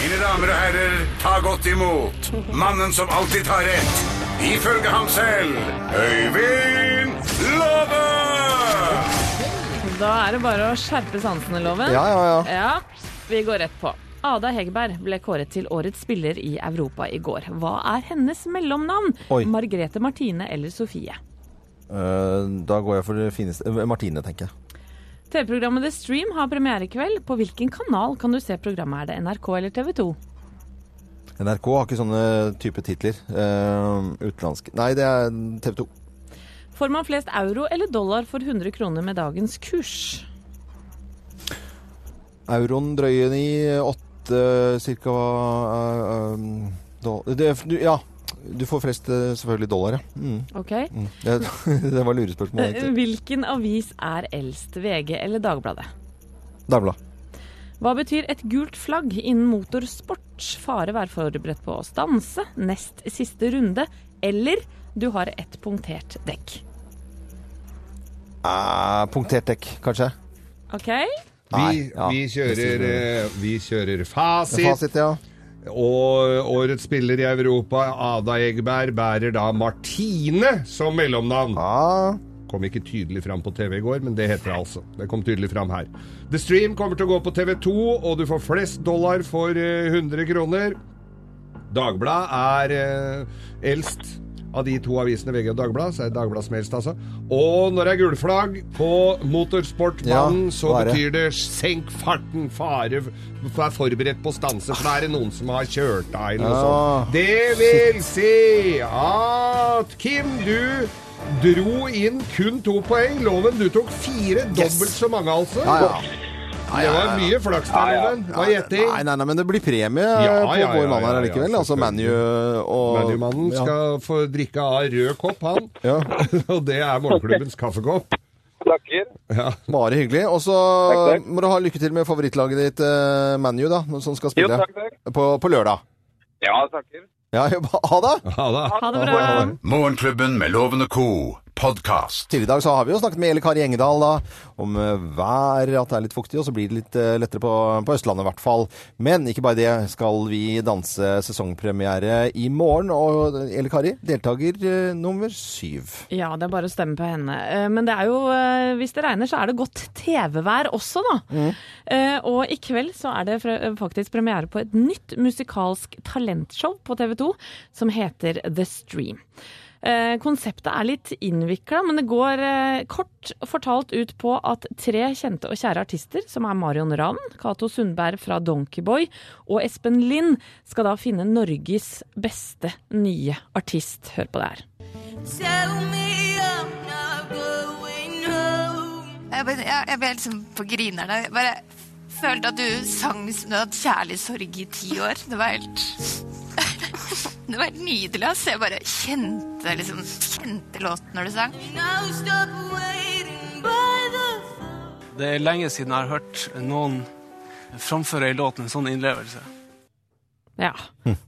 S2: Mine damer og herrer, ta godt imot mannen som alltid tar rett, ifølge ham selv, Øyvind Låve!
S5: Da er det bare å skjerpe sansene, Loven.
S2: Ja, ja, ja.
S5: Ja, Vi går rett på. Ada Hegerberg ble kåret til årets spiller i Europa i går. Hva er hennes mellomnavn?
S3: Oi.
S5: Margrethe Martine eller Sofie?
S3: Eh, da går jeg for det fineste eh, Martine, tenker jeg.
S5: TV-programmet The Stream har premiere i kveld. På hvilken kanal kan du se programmet? Er det NRK eller TV 2?
S3: NRK har ikke sånne type titler. Uh, utenlandske Nei, det er TV 2.
S5: Får man flest euro eller dollar for 100 kroner med dagens kurs?
S3: Euroen drøye i åtte cirka eh, eh, doll- det, du, Ja, du får flest eh, selvfølgelig dollar, ja. Mm.
S5: Ok.
S3: Mm. Det, det var lurespørsmål, egentlig.
S5: Hvilken avis er eldst? VG eller Dagbladet?
S3: Dagbladet.
S5: Hva betyr et gult flagg innen motorsport? Fare, vær forberedt på å stanse, nest siste runde, eller du har et punktert dekk.
S3: Eh, punktert dekk, kanskje.
S5: OK?
S4: Vi,
S3: Nei, ja.
S4: vi,
S3: Det
S4: kjører,
S3: synes
S4: eh, vi kjører fasit.
S3: Fasit, ja.
S4: Og årets spiller i Europa, Ada Egeberg, bærer da Martine som mellomnavn. Kom ikke tydelig fram på TV i går, men det heter det altså. Det kom tydelig fram her. The Stream kommer til å gå på TV2, og du får flest dollar for eh, 100 kroner. Dagbladet er eh, eldst av de to avisene VG og Dagbladet, så er det Dagbladet som er eldst, altså. Og når det er gulflagg på motorsportbanen,
S3: Ja,
S4: så
S3: hva er det?
S4: betyr det senk farten, fare, vær forberedt på å stanse, for da er det noen som har kjørt deg, eller noe
S3: Ah.
S4: sånt. Det vil si at Kim, du dro inn kun to poeng. Loven, du tok fire, dobbelt så mange, altså.
S3: Ja, ja.
S4: Det var mye flaks der, Loven. Hva gjetting?
S3: Nei, nei, nei, men det blir premie
S4: Ja,
S3: på
S4: ja,
S3: vår
S4: ja,
S3: mann her
S4: ja, ja,
S3: allikevel. altså ManU og
S4: Manumannen
S3: Ja.
S4: skal få drikke av rød kopp, han. Og det er morgenklubbens kaffekopp.
S10: Takker.
S3: Bare hyggelig. Og så
S10: Takk, takk.
S3: må du ha lykke til med favorittlaget ditt, eh, ManU, da, som skal spille
S10: Jo, takk, takk.
S3: På, på lørdag.
S10: Ja, takker.
S3: Ja, ha det!
S4: Ha det,
S2: Morgenklubben med Loven og Co. podkast.
S3: Tidligere i dag så har vi jo snakket med Eli Kari Engedal da, om eh, vær, at det er litt fuktig, og så blir det litt eh, lettere på, på Østlandet i hvert fall. Men ikke bare det, skal vi danse sesongpremiere i morgen, og Eli Kari, deltaker eh, nummer syv.
S5: Ja, det er bare å stemme på henne. Eh, Men det er jo, eh, hvis det regner, så er det godt TV-vær også, da. Eh, Og i kveld så er det fra- faktisk premiere på et nytt musikalsk talentshow på TV 2 som heter The Stream. Eh, Konseptet er litt innvikla, men det går eh, kort fortalt ut på at tre kjente og kjære artister, som er Marion Ravn, Cato Sundberg fra Donkeyboy og Espen Lind, skal da finne Norges beste nye artist. Hør på det her.
S11: Tell me I'm not going home. Jeg ble, jeg, jeg ble helt sånn på grinerne. Jeg bare følte at du sang som du hadde hatt kjærlighetssorg i ti år. Det var helt Det var helt nydelig. ass. Jeg bare kjente, liksom, kjente låten når du sang.
S12: Det er lenge siden jeg har hørt noen framføre i låt med en sånn innlevelse.
S5: Ja.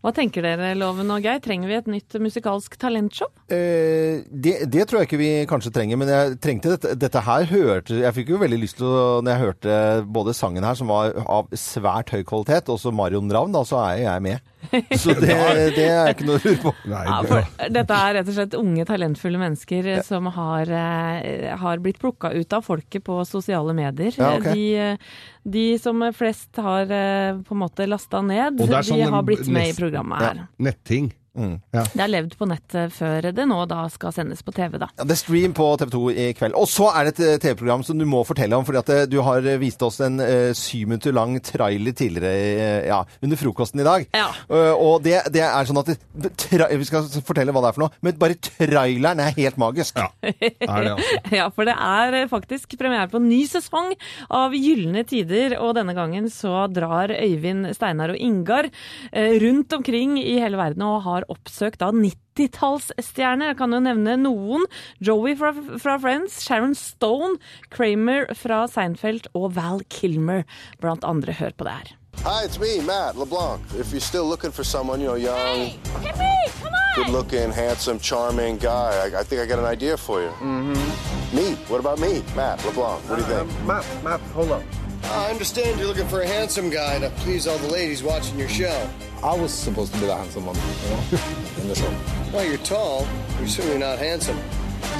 S5: Hva tenker dere, Loven og Geir? Trenger vi et nytt musikalsk talentshow?
S3: Eh, det, det tror jeg ikke vi kanskje trenger, men jeg trengte dette, dette her. Hørte, jeg fikk jo veldig lyst til å Når jeg hørte både sangen her, som var av svært høy kvalitet, og så Marion Ravn, da så er jeg med. Så det, det er ikke noe å lure på.
S5: Ja, for dette er rett og slett unge, talentfulle mennesker eh, som har, eh, har blitt plukka ut av folket på sosiale medier.
S4: Ja, ok.
S5: de, eh, de som flest har eh, på en måte lasta ned,
S4: Og det er sånn
S5: de har blitt med i
S4: nest-
S5: programmet her.
S4: Ja, netting.
S5: Det er levd på nettet før det nå da skal sendes på TV, da.
S3: Ja, det er stream på TV 2 i kveld. Og så er det et eh, TV-program som du må fortelle om, fordi at eh, du har eh, vist oss en eh, syv minutter lang trailer tidligere eh, ja, under frokosten i dag.
S5: Ja.
S3: Eh, og det, det er sånn at det, tra Vi skal fortelle hva det er for noe, men bare traileren er helt magisk.
S4: altså
S5: ja, for det er eh, faktisk premiere på en ny sesong av Gylne tider, og denne gangen så drar Øyvind, Steinar og Ingar eh, rundt omkring i hele verden og har oppsøkt da 90-tallsstjerner. Jeg kan jo nevne noen. Joey fra, fra Friends, Sharon Stone, Kramer fra Seinfeld og Val Kilmer, blant andre. Hør på det her.
S13: Hi, it's me, Matt LeBlanc. If you're still looking for someone, you know, young,
S1: Yippee! Come on!
S13: good looking, handsome, charming guy, I, I think I got an idea for you. Mm-hmm. Me. What about me, Matt LeBlanc? What do you think?
S14: Matt, Matt, hold up. I understand you're looking for a handsome guy to please all the ladies watching your show.
S13: I was supposed to be the handsome one, you know, in the show.
S14: Well, you're tall. You're certainly not handsome.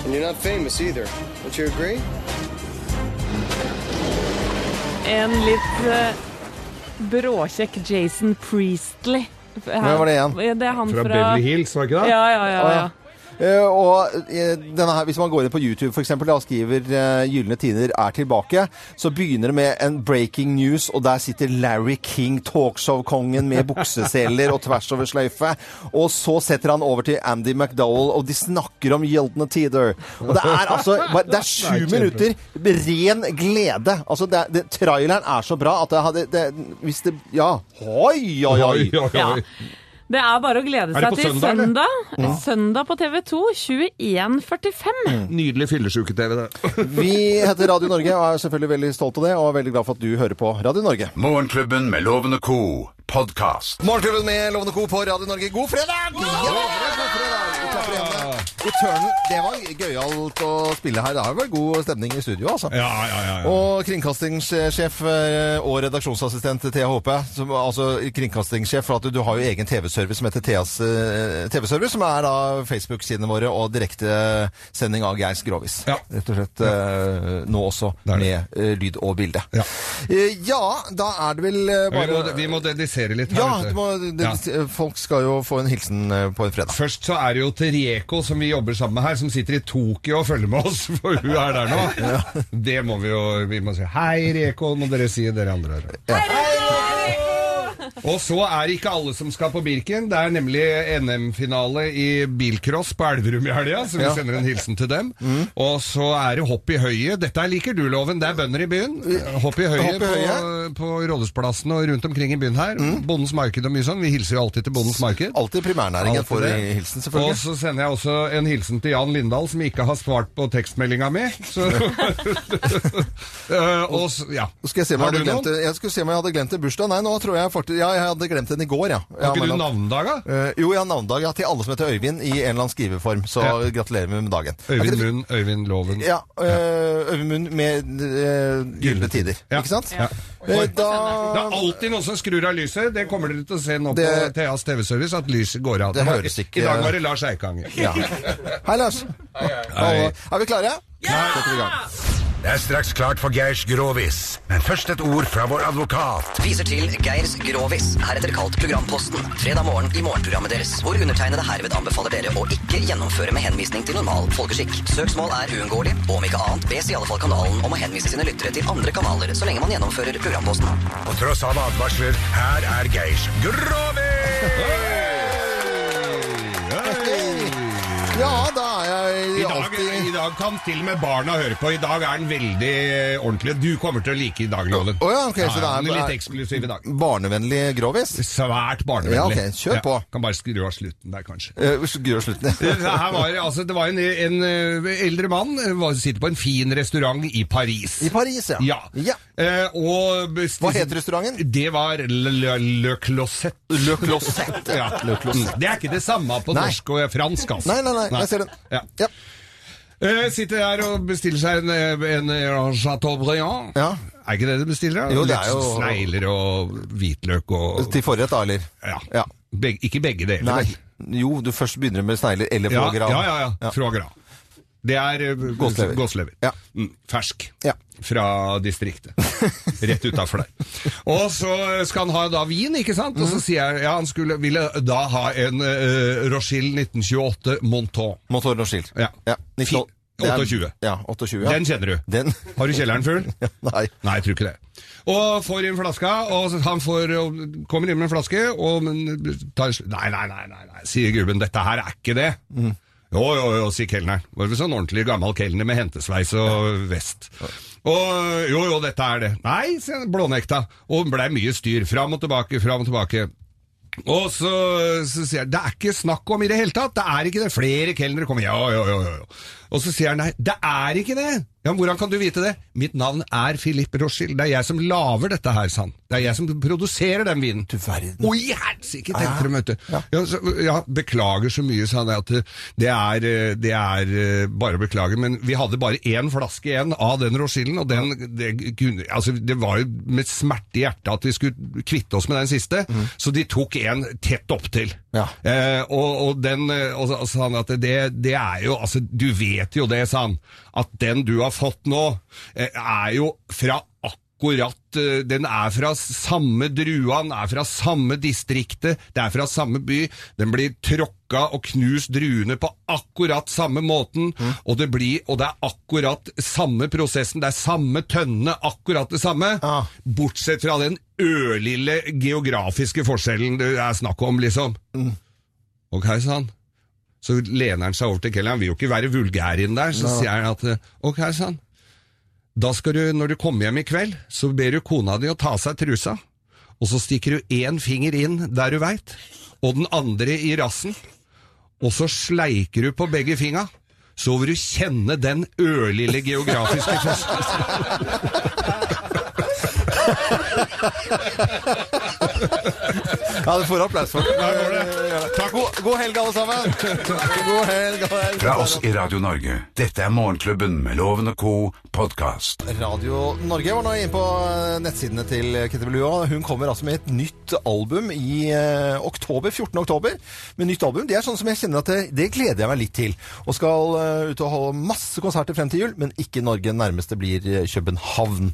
S14: And you're not famous either. Don't you agree?
S5: En litt eh, bråkjekk Jason Priestley.
S3: Hvem var det igjen?
S5: Det er han fra,
S3: Hills, var det ikke
S5: det? Ja, ja, ja, ja.
S3: Eh, og eh, denne her, Hvis man går inn på YouTube for eksempel, da, og skriver eh, 'Gylne tider er tilbake', så begynner det med en breaking news, og der sitter Larry King, talkshow-kongen, med bukseseler og tvers over sløyfe. Og så setter han over til Andy McDowell, og de snakker om gylne tider. Og det er altså bare, Det er
S2: Det
S3: sju
S2: er kjempe.
S3: minutter ren glede. Altså, det, er- det, traileren er så bra at det hadde det, Hvis det Ja. Oi, oi, oi!
S4: Oi, oi, oi. Ja.
S5: Det er bare å glede
S3: Er det
S5: seg
S3: på
S5: til
S3: søndag, eller? Mm.
S5: søndag.
S3: Ja.
S5: Søndag på TV 2 21.45.
S3: Mm.
S4: Nydelig fyllesyke-TV, det.
S3: Vi heter Radio Norge og er selvfølgelig veldig stolt av det, og er veldig glad for at du hører på Radio Norge.
S2: Morgenklubben med Lovende Co. Podkast.
S3: Morgenklubben med Lovende Co på Radio Norge. God fredag! Ja! Vi klapper igjen. I tørnen, Det var gøyalt å spille her. Det har vært god stemning i studio, altså. Og kringkastingssjef eh, og redaksjonsassistent Thea Håpe, som, altså kringkastingssjef, for at du, du har jo egen TV-service som heter Theas eh, TV-service, som er da Facebook-sidene våre og direktesending av Geir Grovis. Rett og slett eh, nå også med eh, lyd og bilde. Ja. ja, da er det vel eh,
S4: Vi må,
S3: bare
S4: vi må dedisere litt her.
S3: ja, det
S4: vet du.
S3: må, det,
S4: Ja.
S3: folk skal jo få en hilsen eh, på en fredag.
S4: Først så er det jo til Reko, som vi jobber sammen med her, som sitter i Tokyo og følger med oss, for hun er der nå. Det må vi jo Vi må si hei, Reko, må dere si dere andre her. Og så er det ikke alle som skal på Birken. Det er nemlig NM-finale i bilcross på Elverum i helga, så vi
S3: Ja. Mm.
S4: sender en hilsen til dem. Og så er det hopp i høyet. Dette liker du, Loven. Det er bønder i byen. Hopp i høyet
S3: Hopp i
S4: på,
S3: høyet. Mm.
S4: på Rådhusplassen og rundt omkring i byen her. Bondens marked og mye sånn. Vi hilser jo alltid til Bondens marked.
S3: Alltid primærnæringen
S4: Alltid
S3: får
S4: det.
S3: hilsen, selvfølgelig.
S4: Og så sender jeg også en hilsen til Jan Lindahl, som ikke har svart på tekstmeldinga mi. Så, Eh, og, s- ja.
S3: Nå Skal jeg, se om
S4: Har
S3: jeg, hadde
S4: du
S3: glemt, det- jeg skulle se om jeg hadde glemt en bursdag. Nei, nå tror jeg faktisk Ja, jeg hadde glemt den i går, ja. ja
S4: Har ikke du
S3: men-
S4: navnedag, da?
S3: Eh, jo, jeg har navnedag ja, til alle som heter Øyvind i en eller annen skriveform. Så
S4: Ja.
S3: gratulerer med dagen.
S4: Øyvind Munn, Øyvind Loven.
S3: Ja, øh, Øyvind Munn med øh, gylne tider. Ikke sant?
S4: Ja.
S3: Eh, Da
S4: Det er alltid noen som skrur av lyset. Det kommer dere til å se nå på
S3: Det-
S4: Theas TV-service, at lyset går av.
S3: Det
S4: var-
S3: høres ikke-
S4: I dag var det Lars Eikanger.
S3: Ja. Hei, Lars.
S2: Hei.
S3: Er vi klare? Ja! Setter vi i gang.
S2: Det er straks klart for Geirs Grovis, men først et ord fra vår advokat.
S15: Viser til Geirs Grovis, heretter kalt Programposten. Fredag morgen i morgenprogrammet deres, hvor undertegnede herved anbefaler dere å ikke gjennomføre med henvisning til normal folkeskikk. Søksmål er uunngåelig, og om ikke annet bes i alle fall kanalen om å henvise sine lyttere til andre kanaler så lenge man gjennomfører Programposten.
S2: På tross av advarsler, her er Geirs Grovis!
S3: Ja, da er jeg
S4: I dag,
S3: alltid
S4: I dag kan til og med barna høre på. I dag er den veldig eh, ordentlig. Du kommer til å like i dag, Loven.
S3: Å ja, ok, så det er-
S4: den er litt eksklusiv i dag.
S3: barnevennlig grovis.
S4: Svært barnevennlig.
S3: Ja, ok, kjør på.
S4: kan bare skru av slutten der, kanskje.
S3: Eh, Gjør slutten.
S4: Det Her var, det- altså, det var en, en eh, eldre mann eh, var, sitter på en fin restaurant i Paris.
S3: I Paris, ja.
S4: ja. Eh, og besti-
S3: Hva het restauranten?
S4: Det var Le, Le, Le Closet.
S3: Le Closet.
S4: ja.
S3: Le Closet.
S4: Mm, Det er ikke det samme på
S3: Nei.
S4: norsk og fransk, altså.
S3: Nei, nei, nei, jeg ser den.
S4: Ja. Eh, sitter der og bestiller seg en, eh, en, en Chateaubriand. Er ikke det du bestiller? da?
S3: Jo, det
S4: Litt
S3: er jo-
S4: Snegler og hvitløk og
S3: Til forrett, da, eller?
S4: Ja. Beg, ikke begge deler.
S3: Nei.
S4: vel?
S3: Jo, du først begynner med snegler eller
S4: Ja,
S3: foie gras.
S4: ja, ja, ja. Foie gras. Det er eh,
S3: Gåslever.
S4: gåslever. Mm, fersk. Fra distriktet. Rett utafor der. Og så skal han ha da vin, ikke sant? Og så sier jeg ja, han skulle, ville da ha en eh, Rochille 1928 Monton.
S3: Monton Rochille.
S4: Ja. Fi-
S3: Det er-
S4: 28.
S3: Ja, 28 ja.
S4: Den kjenner du. Har du kjelleren full? Nei. Nei, jeg tror ikke det. Og får inn flaska, og han får, og kommer inn med en flaske, og men, tar en sl- Nei, nei, nei, nei, nei, sier gubben, dette her er ikke det. Jo, jo, jo, sier kelneren. Var det sånn ordentlig gammel kelner med hentesveis og vest. Og jo, jo, dette er det. Nei, sier han, blånekta. Og blei mye styr. Fram og tilbake, fram og tilbake. Og så, så sier han, det er ikke snakk om i det hele tatt, det er ikke det. Flere kelnere kommer, ja, ja, ja, ja, ja. Og så sier han, nei, det er ikke det. Ja, men hvordan kan du vite det? Mitt navn er Philippe Rochille, det er jeg som laver dette her, sa han. Det er jeg som produserer den vinen. Du verden. Å, helsike, tenkte de, vet du. Ja, så, ja, beklager så mye, sa han, at eh, det er, eh, det er eh, bare å beklage, men vi hadde bare én flaske igjen av den Rochillen, og den, det, kunne, altså, det var jo med smerte i hjertet at vi skulle kvitte oss med den siste, så de tok en tett opptil. Eh, og, og den eh, og, så- og sa han at det, det er jo altså, Du vet jo det, sa han, at den du har fått nå, eh, er jo fra akkurat eh, Den er fra samme drua, den er fra samme distriktet, det er fra samme by. Den blir tråkka og knust druene på akkurat samme måten, og, det blir, og det er akkurat samme prosessen, det er samme tønne, akkurat det samme. Bortsett fra den ørlille geografiske forskjellen det er snakk om, liksom. Ok, sa han. Så lener han seg over til kelneren. Han vil jo ikke være vulgær inn der. Så
S16: Nei.
S4: sier han at eh, ok, sa han. Da skal du, når du kommer hjem i kveld, så ber du kona di å ta av seg trusa. Og så stikker du én finger inn der du veit, og den andre i rassen. Og så sleiker du på begge fingra. Så vil du kjenne den ørlille geografiske
S3: Ja, du får applaus for det. God, god helg, alle sammen. God helg. alle sammen.
S2: Fra oss i Radio Norge. Dette er Morgenklubben med Loven og Co. podkast.
S3: Radio Norge var nå inne på eh, nettsidene til Kette Belua. Hun kommer altså med et nytt album i eh, oktober, 14. oktober. Med nytt album, Det er sånn som jeg kjenner at det, det gleder jeg meg litt til. Og skal eh, ut og holde masse konserter frem til jul, men ikke i Norge. Nærmeste blir eh, København.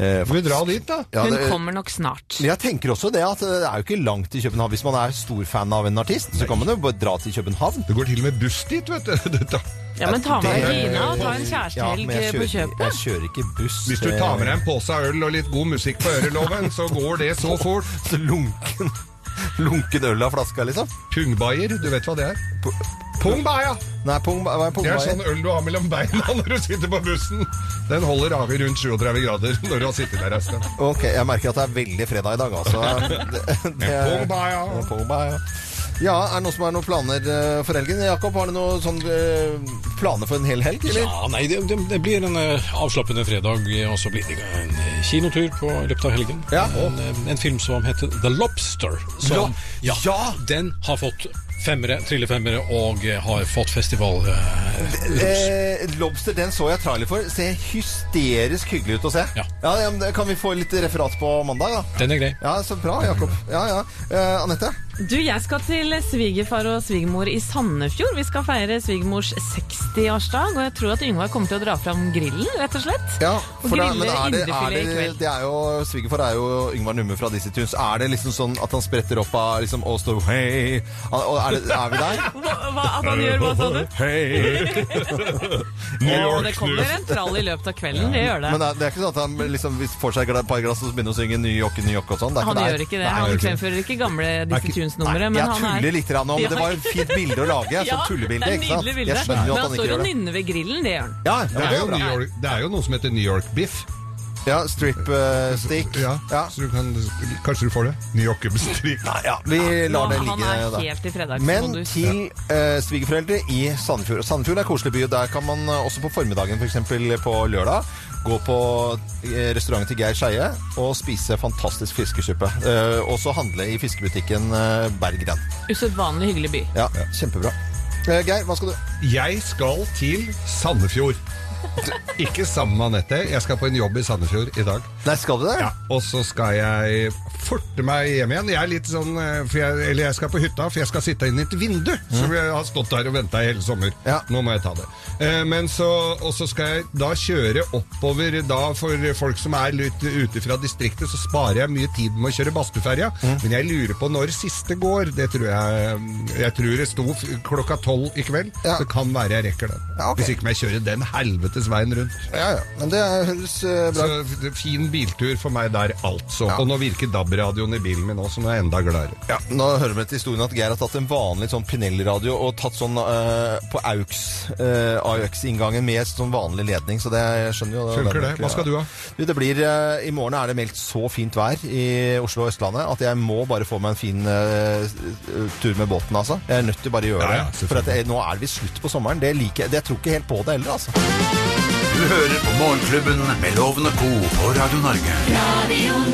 S3: Eh,
S4: Får vi dra
S3: faktisk.
S4: dit, da?
S3: Ja,
S5: Hun
S3: det-
S5: kommer nok snart.
S3: jeg tenker også det at eh, det er jo ikke langt til København. Hvis man er stor fan av en artist, så kan man jo bare dra til København.
S4: Det går til og med buss dit, vet du.
S5: Ja, men ta med
S3: Det-
S5: Regina og ta en kjærestehelg
S3: men jeg
S5: på
S3: kjører-
S5: kjøpet.
S3: Jeg kjører ikke buss. eh,
S4: Hvis du tar med deg en pose av øl og litt god musikk på øreloven, så går det så fort.
S3: Så lunken, lunken øl av flaska, liksom?
S4: Pungbayer, du vet hva det er? Pungbaya!
S3: Nei, pung, hva er
S4: Det
S3: pungbayer?
S4: er sånn øl du har mellom beina når du sitter på bussen. Den holder av i rundt 37 grader når du har sittet der en stund.
S3: Ok, jeg merker at det er veldig fredag i dag, altså. Det, det er,
S4: Pungbaya.
S3: Ja, pungbaya. Ja, er det noen som har noen planer eh, for helgen? Jakob, har du noen sånn, eh, planer for en hel helg, eller?
S17: Ja, nei, det, det, det blir en eh, avslappende fredag, og så blir det en eh, kinotur på i løpet av helgen. En, eh, en film som heter The Lobster. Som,
S3: Lo-
S17: ja, Den har fått femmere, trillefemmere, og eh, har fått festival... eh,
S3: Eh, lobster, den så jeg trailer for. Ser hysterisk hyggelig ut å se. Ja. ja, men Kan vi få litt referat på mandag, da?
S17: Den er grei.
S3: Ja, så bra, Jakob. Ja, ja. Eh, Anette?
S5: Du, jeg skal til svigerfar og svigermor i Sandefjord. Vi skal feire svigermors 60-årsdag, og jeg tror at Yngvar kommer til å dra fram grillen, rett og slett.
S3: Ja,
S5: og
S3: for det,
S5: grille
S3: men er det, er
S5: indrefilet i
S3: det,
S5: kveld.
S3: det er jo Svigerfar er jo Yngvar Numme fra Dizzie Tunes. Er det liksom sånn at han spretter opp av liksom, og står hei Og er, det, er vi der?
S5: Hva- hva- At han gjør hva, sa du?
S3: New
S5: Å,
S3: York
S5: det kommer
S3: News.
S5: en trall i løpet av kvelden, det gjør det.
S3: Men det er, det er ikke sånn at han liksom, hvis får seg et par glass og så begynner å synge New York, New York og sånn? Det er
S5: han
S3: ikke
S5: gjør ikke det. Han fremfører ikke gamle Dizzie Tunes-numre. men
S3: Jeg
S5: han er-
S3: tuller litt grann nå, men det var et fint bilde å lage.
S5: Ja,
S3: sånn tullebilde,
S5: det
S3: ikke
S5: er
S3: sant?
S5: nydelig bilde.
S3: Jeg skjønner jo at
S5: Men han
S3: han
S5: står
S3: ikke
S5: og
S3: gjør det.
S5: nynner ved grillen, det gjør han.
S3: Ja,
S4: Det er, jo New York, det er jo noe som heter New York biff.
S3: Ja, strip eh, stick.
S4: Ja, Så du kan, kanskje du får det? New York stick.
S3: Nei, ja, vi lar det
S5: Han
S3: ligge
S5: er
S3: da.
S5: helt i
S3: Men
S5: fredagsmodus.
S3: til eh, svigerforeldre i Sandefjord. Sandefjord er en koselig by, og der kan man eh, også på formiddagen, f.eks. eksempel på lørdag, gå på eh, restauranten til Geir Skeie og spise fantastisk fiskesuppe. Eh, og så handle i fiskebutikken eh, Berggren.
S5: Usedvanlig hyggelig by.
S3: Ja, kjempebra. Eh, Geir, hva skal du
S4: Jeg skal til Sandefjord. Ikke sammen med Anette. Jeg skal på en jobb i Sandefjord i dag.
S3: Nei, skal du det?
S4: Ja, og så skal jeg forte meg hjem igjen. Jeg er litt sånn, eh, for jeg, eller jeg skal på hytta, for jeg skal sitte inn i et vindu. Så jeg har stått der og venta i hele sommer. Nå må jeg ta det. Eh, Men så, og så skal jeg da kjøre oppover da for folk som er litt ute fra distriktet, så sparer jeg mye tid med å kjøre Bastøferja. Men jeg lurer på når siste går. Det tror jeg Jeg tror det sto f- klokka tolv i kveld. Det kan være jeg rekker den. Hvis ikke må jeg kjøre den helvetes veien rundt.
S3: Ja, ja. Men det høres eh, bra ut.
S4: Så f- fin biltur for meg der, altså. Og nå virker DAB-radioen i bilen min òg, som er enda gladere.
S3: Ja, nå hører vi til historien at Geir har tatt en vanlig sånn Pinell-radio og tatt sånn eh, på AUX, eh, AUX-inngangen med sånn vanlig ledning, så det jeg skjønner jo.
S4: Funker det? Hva skal du ha?
S3: Du, det blir, eh, I morgen er det meldt så fint vær i Oslo og Østlandet at jeg må bare få meg en fin eh, tur med båten, altså. Jeg er nødt til bare å gjøre
S4: Ja, ja,
S3: det. For at, eh, nå er det visst slutt på sommeren. Det liker jeg. Det- Jeg tror ikke helt på det heller, altså.
S2: Du hører på Morgenklubben med Loven og Co. på Radio Norge.
S1: Radio